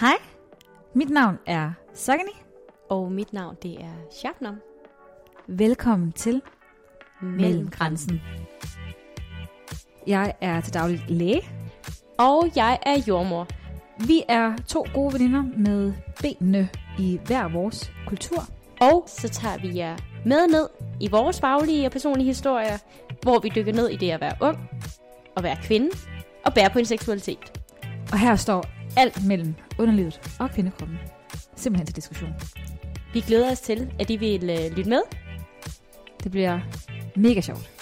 Hej, mit navn er Sagani. Og mit navn, det er Shabnam. Velkommen til Mellemgrænsen. Jeg er til daglig læge. Og jeg er jordmor. Vi er to gode veninder med benene i hver vores kultur. Og så tager vi jer med ned i vores faglige og personlige historier, hvor vi dykker ned i det at være ung, og være kvinde, og bære på en seksualitet. Og her står alt mellem underlivet og kvindekroppen. Simpelthen til diskussion. Vi glæder os til, at I vil øh, lytte med. Det bliver mega sjovt.